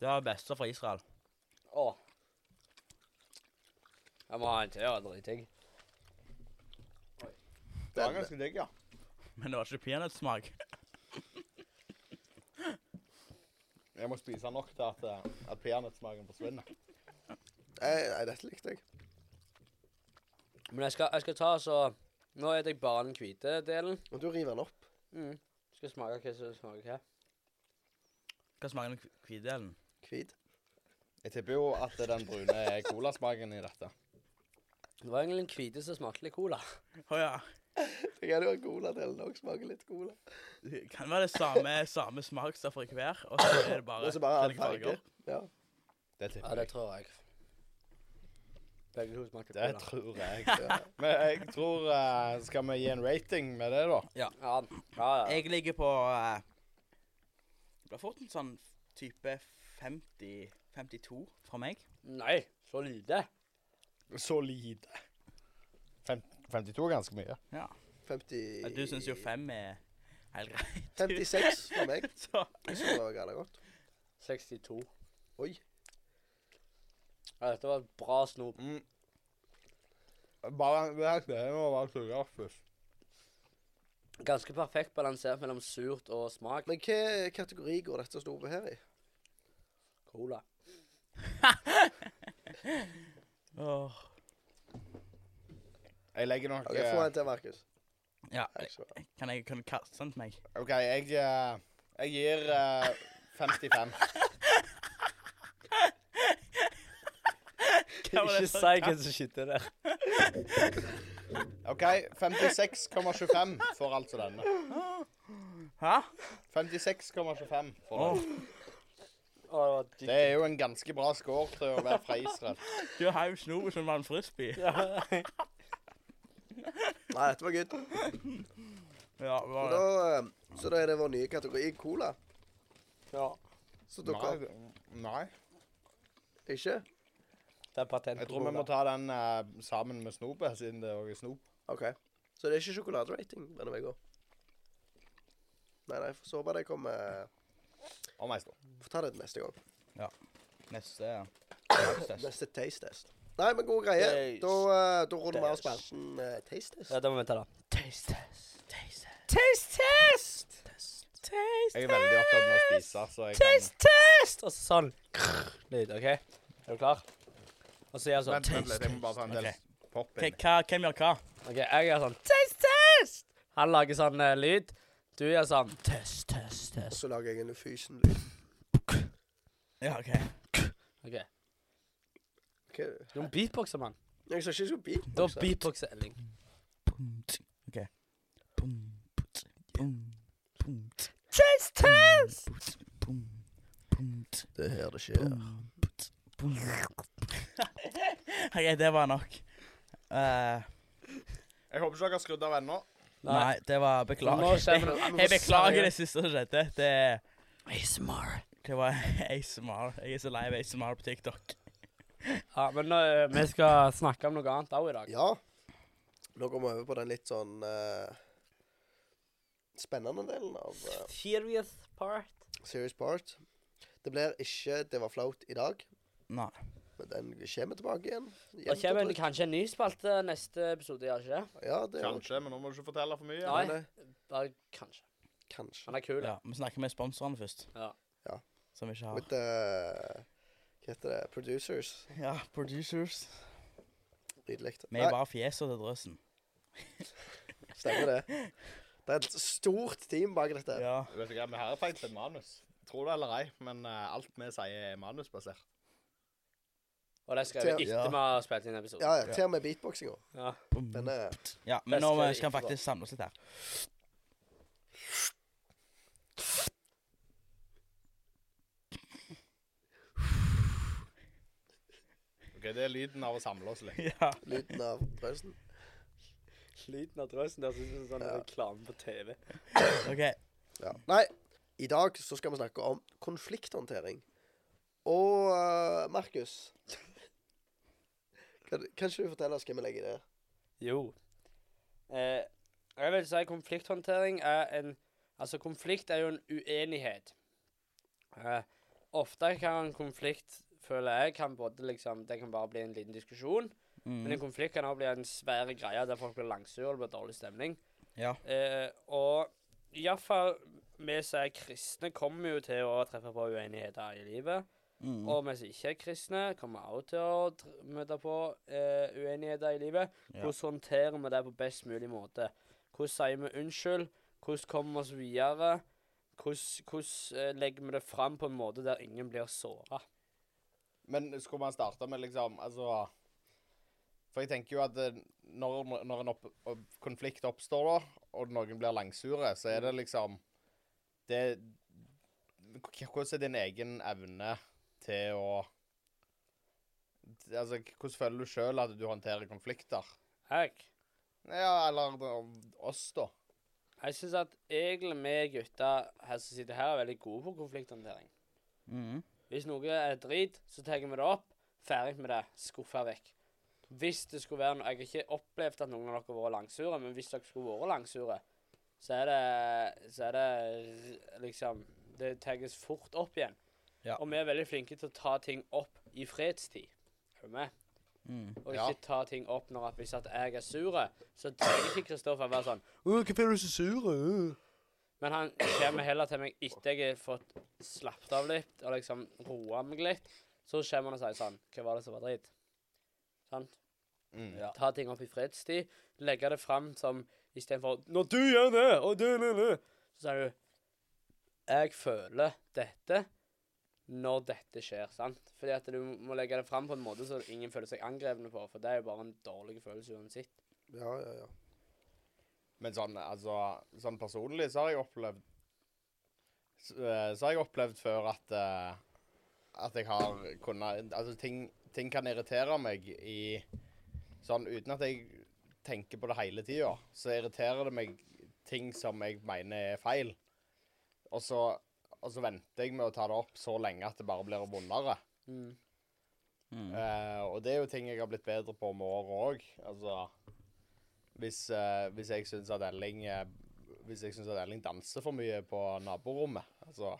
Det var det beste fra Israel. Åh. Jeg må ha en til. Det var dritdigg. Det var ganske digg, ja. Men det var ikke peanøttsmak. Jeg må spise nok til at, eh, at peanøttsmaken forsvinner. Nei, nei, dette likte jeg. Men jeg skal, jeg skal ta så Nå spiser jeg bare den hvite delen. Og du river den opp. Mm. Skal smake hva som smaker her. Hva smaker den hvi- hvite delen? Hvit. Jeg tipper jo at det er den brune er colasmaken i dette. Det var egentlig den hvite som smakte litt cola. Å ja. Jeg hadde jo en coladel òg. Smaker litt cola. Det kan være det samme, samme smakstoffer i hver, og så er det bare Og så bare forskjellige en farge. Ja. Det Ja, tipper det jeg. tror jeg. Begge to smakte Det cola. tror jeg. ja. Men jeg tror eh, Skal vi gi en rating med det, da? Ja, ja, ja. Jeg ligger på eh, Det blir fort en sånn type 50 52 fra meg. Nei, så lite. Så lite. Fem, 52 er ganske mye. Ja. 50 Du syns jo 5 er helt greit. 56 for meg. Så Jeg synes det var grella godt. 62. Oi. Ja, dette var et bra snop. Mm. Bare det her må være sukker først. Ganske perfekt balansert mellom surt og smak. Men hva kategori går dette snopet her i? Cola. Åh. Jeg legger nok OK, få en til, Markus. Ja. Takk skal du ha. Kan jeg kan du kaste den til meg? OK, jeg, eh, Jeg gir eh, 55. var det Ikke for si hva som skjedde der. OK, 56,25 for altså denne. Hæ? 56,25 for Åh, den. Det er jo en ganske bra score til å være fra Israel. du har jo sno som en frisbee. Nei, dette var good. Ja, det var Og det. da, eh, så da er det vår nye kategori cola. Ja. Så dere Nei, nei. ikke? Det er patent Jeg på tror vi cola. må ta den eh, sammen med snopet, siden det òg er snop. OK. Så det er ikke sjokoladerating denne uka? Nei, nei, får så bare det kommer Om ei stund. Får ta det til neste gang. Neste. ja. Neste taste test. Nei, men gode greier. Taste Da, eh, da runder vi av spalten eh, taste test. Ja, da må vi ta det. Taste test. Taste test. Taste test. Jeg er veldig opptatt med å spise, så jeg kan Taste test. Og så sånn. krr, Lyd, OK? Er du klar? Og så gjør jeg sånn. Vent, vent litt, jeg må bare ta en del Ok. pop Hva, inn. hva, hvem gjør hva? Ok, jeg gjør sånn Test, test! Han lager sånn eh, lyd. Du gjør sånn Test, test, Og test. så lager jeg en Ufysen-lyd. Ja, OK. Ok, Ok. Du må beatboxe, mann. Jeg sa ikke jeg skulle Da beatboxe. beatboxer Elling. OK. Boom, put, boom, boom, Test, test! put, boom, boom, Det er her det skjer. boom, put, boom. OK, det var nok. Eh, Jeg håper ikke dere har skrudd av ennå. Nei. nei, det var Nå Beklager. kommer det. Jeg beklager det siste som skjedde. Det, ASMR. det var ASMR. Jeg er så lei av ASMR på TikTok. Ja, men eh, vi skal snakke om noe annet òg i dag. Ja. Nå går vi over på den litt sånn eh, spennende delen av eh, Serious part. Serious part. Det blir ikke 'Det var flaut' i dag, Nei. men den kommer tilbake igjen. Da Jevnt og kommer det trutt. kanskje en ny spalte neste episode, gjør ikke det? Ja, det er Kanskje, men nå må du ikke fortelle for mye. Nei. Nei, nei. Bare kanskje. Kanskje. Han er kul. Ja, Vi snakker med sponsorene først. Ja. Ja. Som vi ikke har. With the Hva heter det? Producers. Ja, producers. Nydelig. Vi er Nei, bare fjeset til drøsen. stemmer det. Det er et stort team bak dette. Ja. Vet du hva, Vi har faktisk et manus. Tror det eller ei, men eh, alt vi sier, er manusbasert. Og det skrev jeg Ja. etter vi har spilt inn episoden. Ja, ja. Til og med beatboxinga. Ja. Boom. Den er Ja, men nå Beste skal vi ikke faktisk samle oss litt her. Ok, Det er lyden av å samle oss litt. Ja. lyden av drøsen. Lyden av drøsen der synes jeg er sånn Ja. reklame på TV. OK. Ja. Nei, i dag så skal vi snakke om konflikthåndtering. Og eh, Markus kan, kan ikke du fortelle oss hva vi legger i det? Jo. Eh, jeg vil si konflikthåndtering er en Altså, konflikt er jo en uenighet. Eh, ofte kan en konflikt, føler jeg, kan både liksom Det kan bare bli en liten diskusjon, men en Mm. konflikt kan også bli en svær greie der folk blir langsure og det blir dårlig stemning. Ja. Eh, og iallfall vi som er kristne, kommer jo til å treffe på uenigheter i livet. Mm. Og vi som ikke er kristne, kommer også til å tr- møte på eh, uenigheter i livet. Ja. Hvordan håndterer vi det på best mulig måte? Hvordan sier vi unnskyld? Hvordan kommer vi oss videre? Hvordan, hvordan eh, legger vi det fram på en måte der ingen blir såra? Men skulle man starte med liksom Altså For jeg tenker jo at eh, når, når en opp, opp- konflikt oppstår, da, og noen blir langsure, så er det liksom Det k- Hvordan er din egen evne til å Altså, k- hvordan føler du sjøl at du håndterer konflikter? Jeg, Ja, eller eh, oss, da. jeg syns at egentlig vi gutter her som sitter her, er veldig gode på konflikthåndtering. Mm. Hvis noe er drit, så tar vi det opp. Ferdig med det. Skuffa vekk. Hvis det skulle være noe Jeg har ikke opplevd at noen av dere har vært langsure, men hvis dere skulle vært langsure, så er det Så er det r- liksom Det tas fort opp igjen. Ja. Og vi er veldig flinke til å ta ting opp i fredstid. Er du med? Mm. Og Ja. ikke ta ting opp når at hvis at jeg er sur, så trenger ikke Kristoffer være sånn «Åh, 'Hvorfor er du så sur?' øh?» Men han kommer heller til meg etter jeg har fått slappet av litt og liksom roa meg litt. Så kommer han og sier sånn 'Hva var det som var dritt?' Sant? Mm. Ja. Ta ting opp i fredstid. Legge det fram som istedenfor 'Når du gjør det, og du, du, du', så sier du jeg føler dette når dette skjer, sant? Fordi at du må legge det fram på en måte så ingen føler seg angrepne på, for det er jo bare en dårlig følelse uansett. Ja, ja, ja. Men sånn, altså, sånn personlig så har jeg opplevd s- eh, Så har jeg opplevd før at eh, At jeg har kunnet Altså, ting, ting kan irritere meg i Sånn uten at jeg tenker på det hele tida, så irriterer det meg ting som jeg mener er feil. Og så, og så venter jeg med å ta det opp så lenge at det bare blir vondere. Mm. Mm. Eh, og det er jo ting jeg har blitt bedre på med året òg. Altså hvis, eh, hvis jeg syns at Elling eh, Hvis jeg synes at Elling danser for mye på naborommet Altså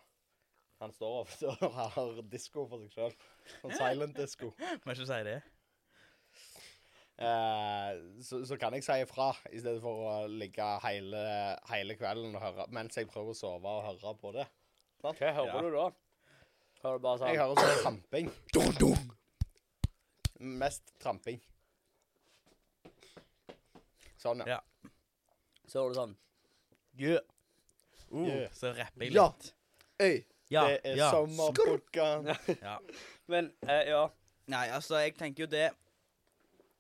Han står ofte og har disko for seg sjøl. Sånn silent disko. Må ikke si det. Eh, så, så kan jeg si ifra, i stedet for å ligge hele, hele kvelden og høre mens jeg prøver å sove og høre på det. Hva hører Ja. du da? Hører du bare sånn Jeg hører sånn tramping. Mest tramping. Sånn, ja. Ja. Så hører du sånn Yeah. Uh, Yeah. Så rapper jeg Ja. litt. Øy, Ja. det er ja. sommerpukkan. ja. Men eh, ja. Nei, altså, jeg tenker jo det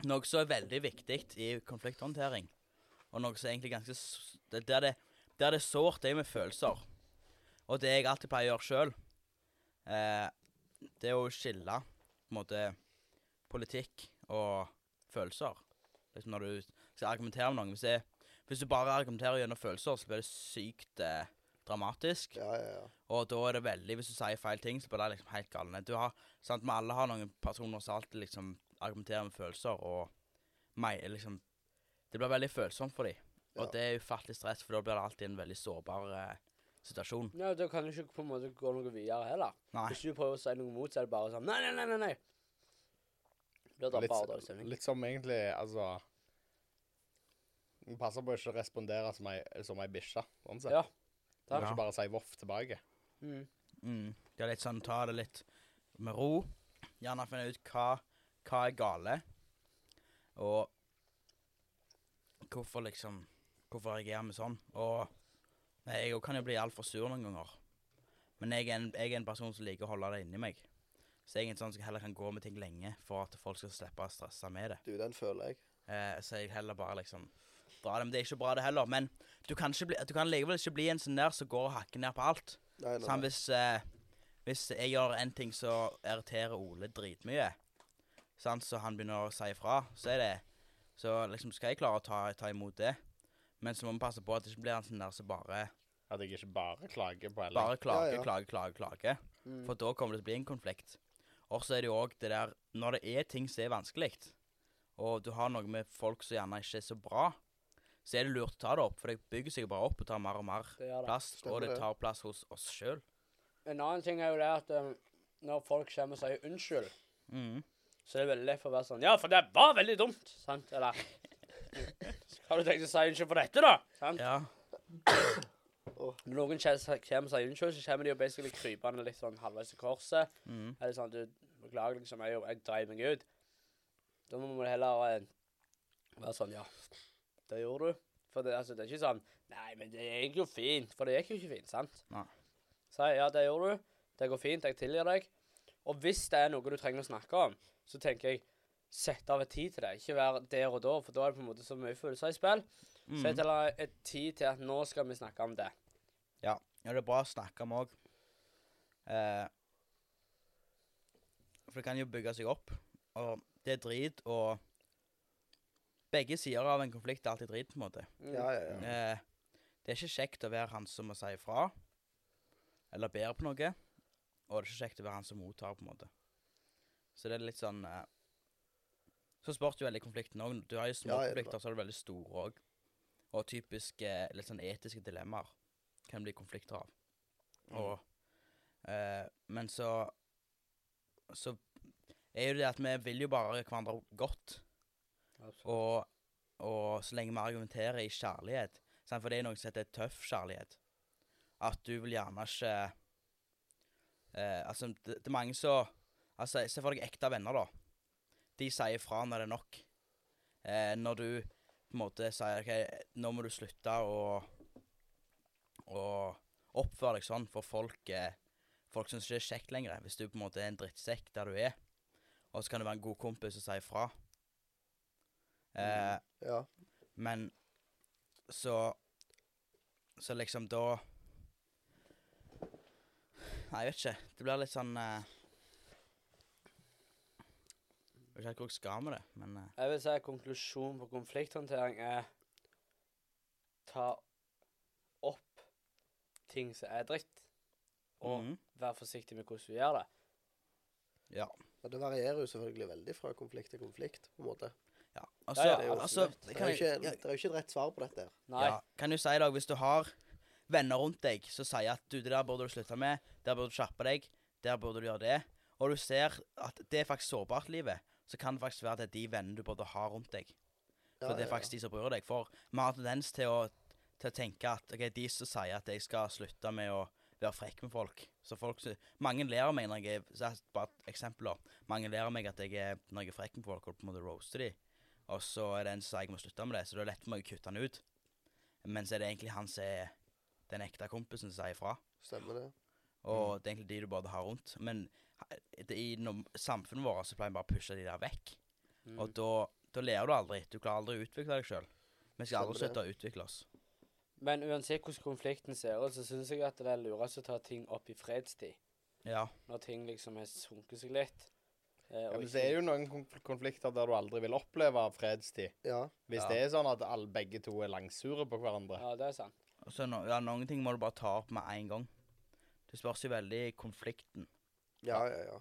Noe som er veldig viktig i konflikthåndtering, og noe som er egentlig ganske s- det- Der det, der det er sårt, det er jo med følelser. Og det jeg alltid pleier å gjøre sjøl, eh, det er å skille på en måte politikk og følelser. Liksom når du skal argumentere med noen. Hvis, det, hvis du bare argumenterer gjennom følelser, så blir det sykt eh, dramatisk. ja, ja, ja. Og da er det veldig Hvis du sier feil ting, så blir det liksom helt galne. Du har, sant, Vi alle har noen personer som alltid liksom argumenterer med følelser, og meg, liksom Det blir veldig følsomt for dem. Og Ja. det er ufattelig stress, for da blir det alltid en veldig sårbar eh, situasjon. ja, da kan du ikke på en måte gå noe videre heller. Nei. Hvis du prøver å si noe imot, så er det bare sånn Nei, nei, nei, nei. nei. Da liksom. er det bare dårlig Litt, stemning. litt som egentlig, altså Jeg passer på å ikke respondere som ei, som ei bikkje. Sånn sett. Ja. Du må Ja. ikke bare si voff tilbake. Mm. Mm. Det er litt sånn Ta det litt med ro. Gjerne finne ut hva, hva er gale, og hvorfor liksom Hvorfor reagerer vi sånn? Og nei, jeg òg kan jo bli altfor sur noen ganger. Men jeg er, en, jeg er en person som liker å holde det inni meg. Så jeg er en sånn som heller kan gå med ting lenge for at folk skal slippe å stresse med det. Du, den føler jeg. Eh, så jeg heller bare liksom drar det. Men det er ikke bra, det heller. Men du kan, ikke bli, du kan likevel ikke bli en sånn der som går og hakker ned på alt. Nei, nei, Sånn, nei. hvis, eh, hvis jeg gjør en ting som irriterer Ole dritmye, sant, så han begynner å si ifra, så er det Så liksom skal jeg klare å ta, ta imot det. Men så må vi passe på at det ikke blir han sånn der som bare, At jeg ikke bare klager på Ellen. bare klager, Ja, ja. klager, klager, klager. Mm. For da kommer det til å bli en konflikt. Og så er det jo òg det der Når det er ting som er vanskelig, og du har noe med folk som gjerne ikke er så bra, så er det lurt å ta det opp, for det bygger seg jo bare opp og tar mer og mer Det gjør det. plass. Stemmer og det det. tar plass hos oss sjøl. En annen ting er jo det at um, når folk kommer og sier unnskyld, Mm. så er det veldig lett for å være sånn Ja, for det var veldig dumt, sant? Eller Har du tenkt å si unnskyld for dette, da? Sant? Ja. Når noen kje- kommer og sier unnskyld, så kommer de jo basically krypende litt sånn halvveis i korset. Mm. Eller sånn du, 'Beklager, liksom, jeg, jeg dreiv meg ut.' Da må du heller eh, være sånn 'Ja, det gjorde du.' For det, altså, det er ikke sånn 'Nei, men det gikk jo fint.' For det gikk jo ikke fint, sant? Nei. Si 'Ja, det gjorde du. Det går fint. Jeg tilgir deg.' Og hvis det er noe du trenger å snakke om, så tenker jeg Sett av et tid til det. Ikke være der og da, for da er det på en måte så mye følelser i spill. Mm. Sett av et tid til at nå skal vi snakke om det. Ja, det er bra å snakke om òg. Eh, for det kan jo bygge seg opp, og det er drit, og Begge sider av en konflikt er alltid drit, på en måte. Mm. Ja, ja, ja. Eh, det er ikke kjekt å være han som må si ifra, eller ber på noe, og det er ikke kjekt å være han som mottar, på en måte. Så det er litt sånn eh, Så spurte jo veldig konflikten òg. Du har jo små Ja, ja, det er konflikter, så er det veldig store òg. Og typisk eh, litt sånn etiske dilemmaer kan bli konflikter av. Mm. Og, eh, men så Så er jo det at vi vil jo bare hverandre godt. Og, og så lenge vi argumenterer i kjærlighet sant? For det er noe som heter tøff kjærlighet. At du vil gjerne ikke eh, Altså, det, det er mange som Altså, Se for deg ekte venner, da. De sier fra når det er nok. Eh, når du på en måte sier OK, nå må du slutte å å, oppfør deg sånn, for folk eh, Folk syns ikke det er kjekt lenger. Hvis du på en måte er en drittsekk der du er, og så kan du være en god kompis og si ifra. Eh, Ja. men så Så liksom da Nei, jeg vet ikke. Det blir litt sånn eh, Jeg vet ikke helt hvor jeg skal med det, men eh, Jeg vil si at konklusjonen på konflikthåndtering er ta opp ting som er dritt, og Mm. mhm. vær forsiktig med hvordan du gjør det. Og det varierer jo selvfølgelig veldig fra konflikt til konflikt, på en måte. Ja. Altså, Ja, ja, det er jo altså absolutt. Det kan er jo jeg, ikke, ja, det er jo ikke et rett svar på dette. her. Nei. ja, kan jo si da, hvis du har venner rundt deg som sier at du, det der burde du slutte med, der burde du skjerpe deg, der burde du gjøre det, og du ser at det er faktisk sårbart, livet, så kan det faktisk være at det er de vennene du burde ha rundt deg. Ja, For det ja, er faktisk de som bryr deg. For vi har tendens til å, til å tenke at ok, de som sier at jeg skal slutte med å være frekk med folk så folk, sy- Mange ler av meg når jeg er så er Bare eksempler. Mange ler av meg at jeg er, når jeg er frekk med folk og på en måte roaster de. Og så er det en som sier jeg må slutte med det, så det er lett for meg å kutte han ut. Men så er det egentlig han som er den ekte kompisen som sier ifra. ja. Stemmer det. Mm. Og det er egentlig de du bare har rundt. Men det, i no, samfunnet vårt så pleier vi bare å pushe de der vekk. Mm. Og da, da ler du aldri. Du klarer aldri å utvikle deg sjøl. Vi skal aldri Stemmer det. slutte å utvikle oss. Men uansett hvordan konflikten ser ut, så syns jeg at det er lurest å ta ting opp i fredstid. Ja. Når ting liksom har sunket seg litt. Eh, Ja, men så er det jo noen konf- konflikter der du aldri vil oppleve fredstid. Ja. Hvis Ja. det er sånn at alle, begge to er langsure på hverandre. Ja, det er sant. Og Så no, ja, noen ting må du bare ta opp med en gang. Det spørs jo veldig konflikten. Ja, ja, ja.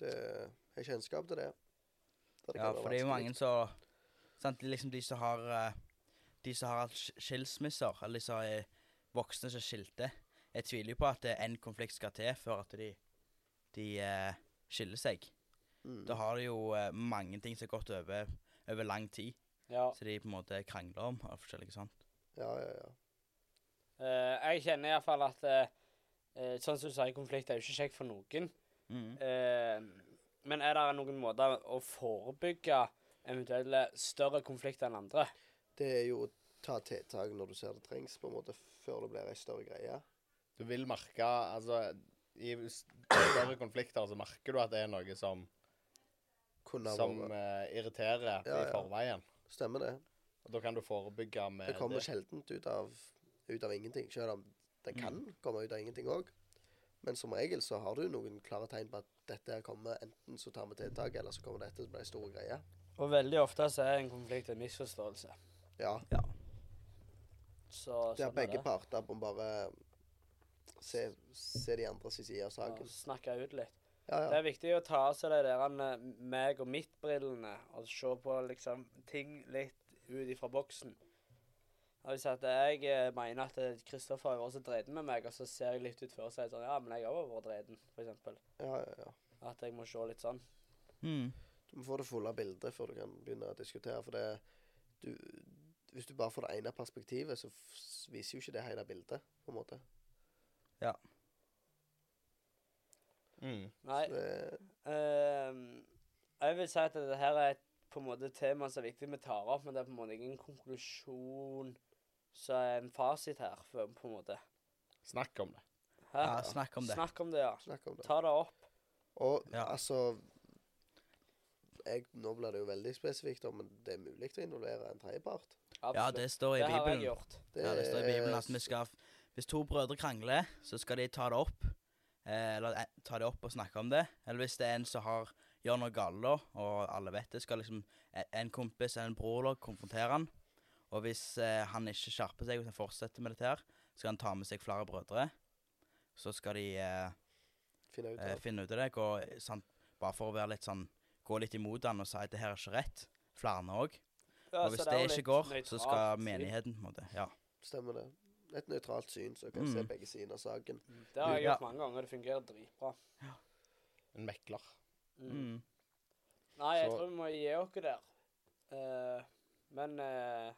Det jeg har kjennskap til det. Der Ja, kan være for det er jo vanskelig. mange som Sant, det er liksom de som har eh, De som har hatt sk- skilsmisser, eller de som er voksne som skilte. Jeg tviler jo på at en konflikt skal til før at de, de eh, skiller seg. Mm. Da har du jo eh, mange ting som har gått over, over lang tid, Ja. så de på en måte krangler om og forskjellige sånt. Ja, ja, ja. Eh, jeg kjenner iallfall at eh, eh, Sånn som du sier, konflikt er jo ikke kjekt for noen. Mm. Eh, men er det noen måter å forebygge eventuelle større konflikter enn andre? Det er jo å ta tiltak når du ser det trengs, på en måte, før det blir ei større greie. Du vil merke Altså, i s- større konflikter så merker du at det er noe som, Kunne ha som vært. eh, irriterer Ja, i ja. forveien. Stemmer det. Og da kan du forebygge med Det kommer sjeldent ut av, ut av ingenting, selv om det kan komme ut av ingenting òg. Men som regel så har du noen klare tegn på at dette her kommer, enten så tar vi tiltak, eller så kommer dette til å bli ei stor greie. Og veldig ofte så er en konflikt en misforståelse. Ja. Så Der sånn er begge det. parter må bare se, se de andre sin side av Ja, saken. Snakke ut litt. Ja, Det ja. er viktig å ta av seg de der eh, meg og mitt-brillene og se på liksom ting litt ut ifra boksen. Og Hvis at jeg eh, mener at eh, Kristoffer har vært så dreden med meg, og så ser jeg litt ut før og sier sånn Ja, men jeg har også vært dreden, for eksempel. ja, ja, ja. At jeg må se litt sånn. Mm. Du må få det fulle bildet før du kan begynne å diskutere. For det, du, hvis du bare får det ene perspektivet, så f- viser jo ikke det hele bildet. på en måte. Mm. Nei. Så det, ehm, jeg vil si at dette her er et på en måte tema som er viktig vi tar opp, men det er på en måte ingen konklusjon som er en fasit her, for, på en måte. Snakk om det. Hæ? Ja, snakk om det. Snakk om det, ja. snakk om det. Ta det opp. Og Ja. altså jeg, Nå blir det jo veldig spesifikt, da, men det er mulig å involvere en tredjepart. Ja, Absolutt. det står i Det har jeg Bibelen. gjort. Ja, det står i Bibelen at er- vi skal Hvis to brødre krangler, så skal de ta det opp. Eh, eller eh, ta det opp og snakke om det. Eller hvis det er en som har gjør noe galt, da, og alle vet det, skal liksom en- en kompis eller en bror da, konfrontere han. Og hvis eh, han ikke skjerper seg, hvis han fortsetter med dette her, så skal han ta med seg flere brødre. Så skal de eh, finne ut eh, av. finne ut av det. Gå, sant, bare for å være litt sånn Gå litt imot han og si at det her er ikke rett. Flere òg. Ja, Og hvis så det er jo ikke litt går, så nøytralt, skal sier- menigheten på en måte Ja. Stemmer det. Et nøytralt syn som kan Mm. se begge sider av saken. Det har jeg Ja. gjort mange ganger. Det fungerer dritbra. En mekler. Mm. Mm. Nei, jeg Så- tror vi må gi oss der. Eh, men eh,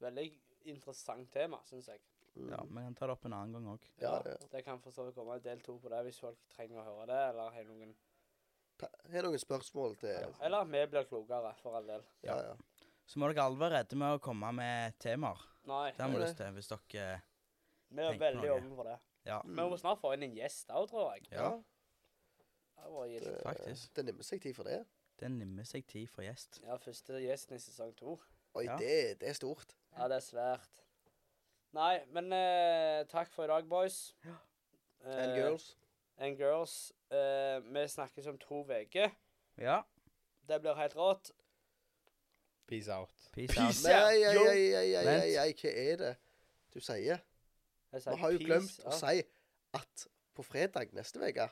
veldig interessant tema, syns jeg. Mm. Ja, vi kan ta det opp en annen gang òg. Ja, ja. Det kan for så vidt komme en del to på det hvis folk trenger å høre det, eller har noen Ta- Har noen spørsmål til Ja, Eller vi blir klokere, for all del. ja. ja. Så må dere alle være redde med å komme med temaer. Nei. Det har vi Nei, lyst til, hvis dere eh, Vi er Tenk på veldig noe. åpne for det. Ja, Vi må snart få inn en gjest òg, tror jeg. ja Det var gitt. det- faktisk. Det nimmer seg tid for det. Det nimmer seg tid for gjest. Ja, første gjesten i sesong to. Oi, Ja. det, det er stort. Ja, det er svært. Nei, men eh, takk for i dag, boys. And Eh, girls. And girls. Eh, vi snakkes om to uker. Ja. Det blir helt rått. Peace out. Peace out. Nei, ei, ei, Yo. ei, ei, ei, Vent. ei, ei, hva er det du sier? Jeg sier Vi har jo peace glemt å out. si at på fredag neste uke,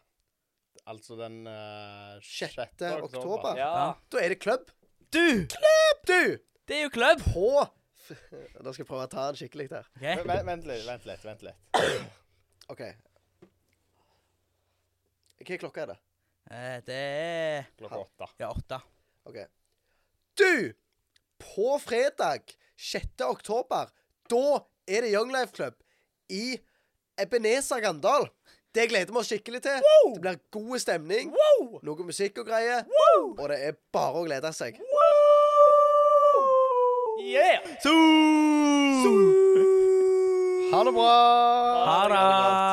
Altså den eh, 6. sjette oktober, Ja. Ja. da er det klubb. Du! Du! Det er jo klubb! På Da skal jeg prøve å ta den skikkelig der. Vent, vent- vent litt, vent litt. vent litt. OK. Hva klokka er det? Eh, Det er Klokka åtte. Ja, åtte. OK. Du! På fredag 6. oktober, da er det Young Life Club i Ebenezer Gandal. Det gleder vi oss skikkelig til. Det blir god stemning. Wow! Noe musikk og greier. Wow! Og det er bare å glede seg. Yeah! Zoo! Ha det bra! Ha det!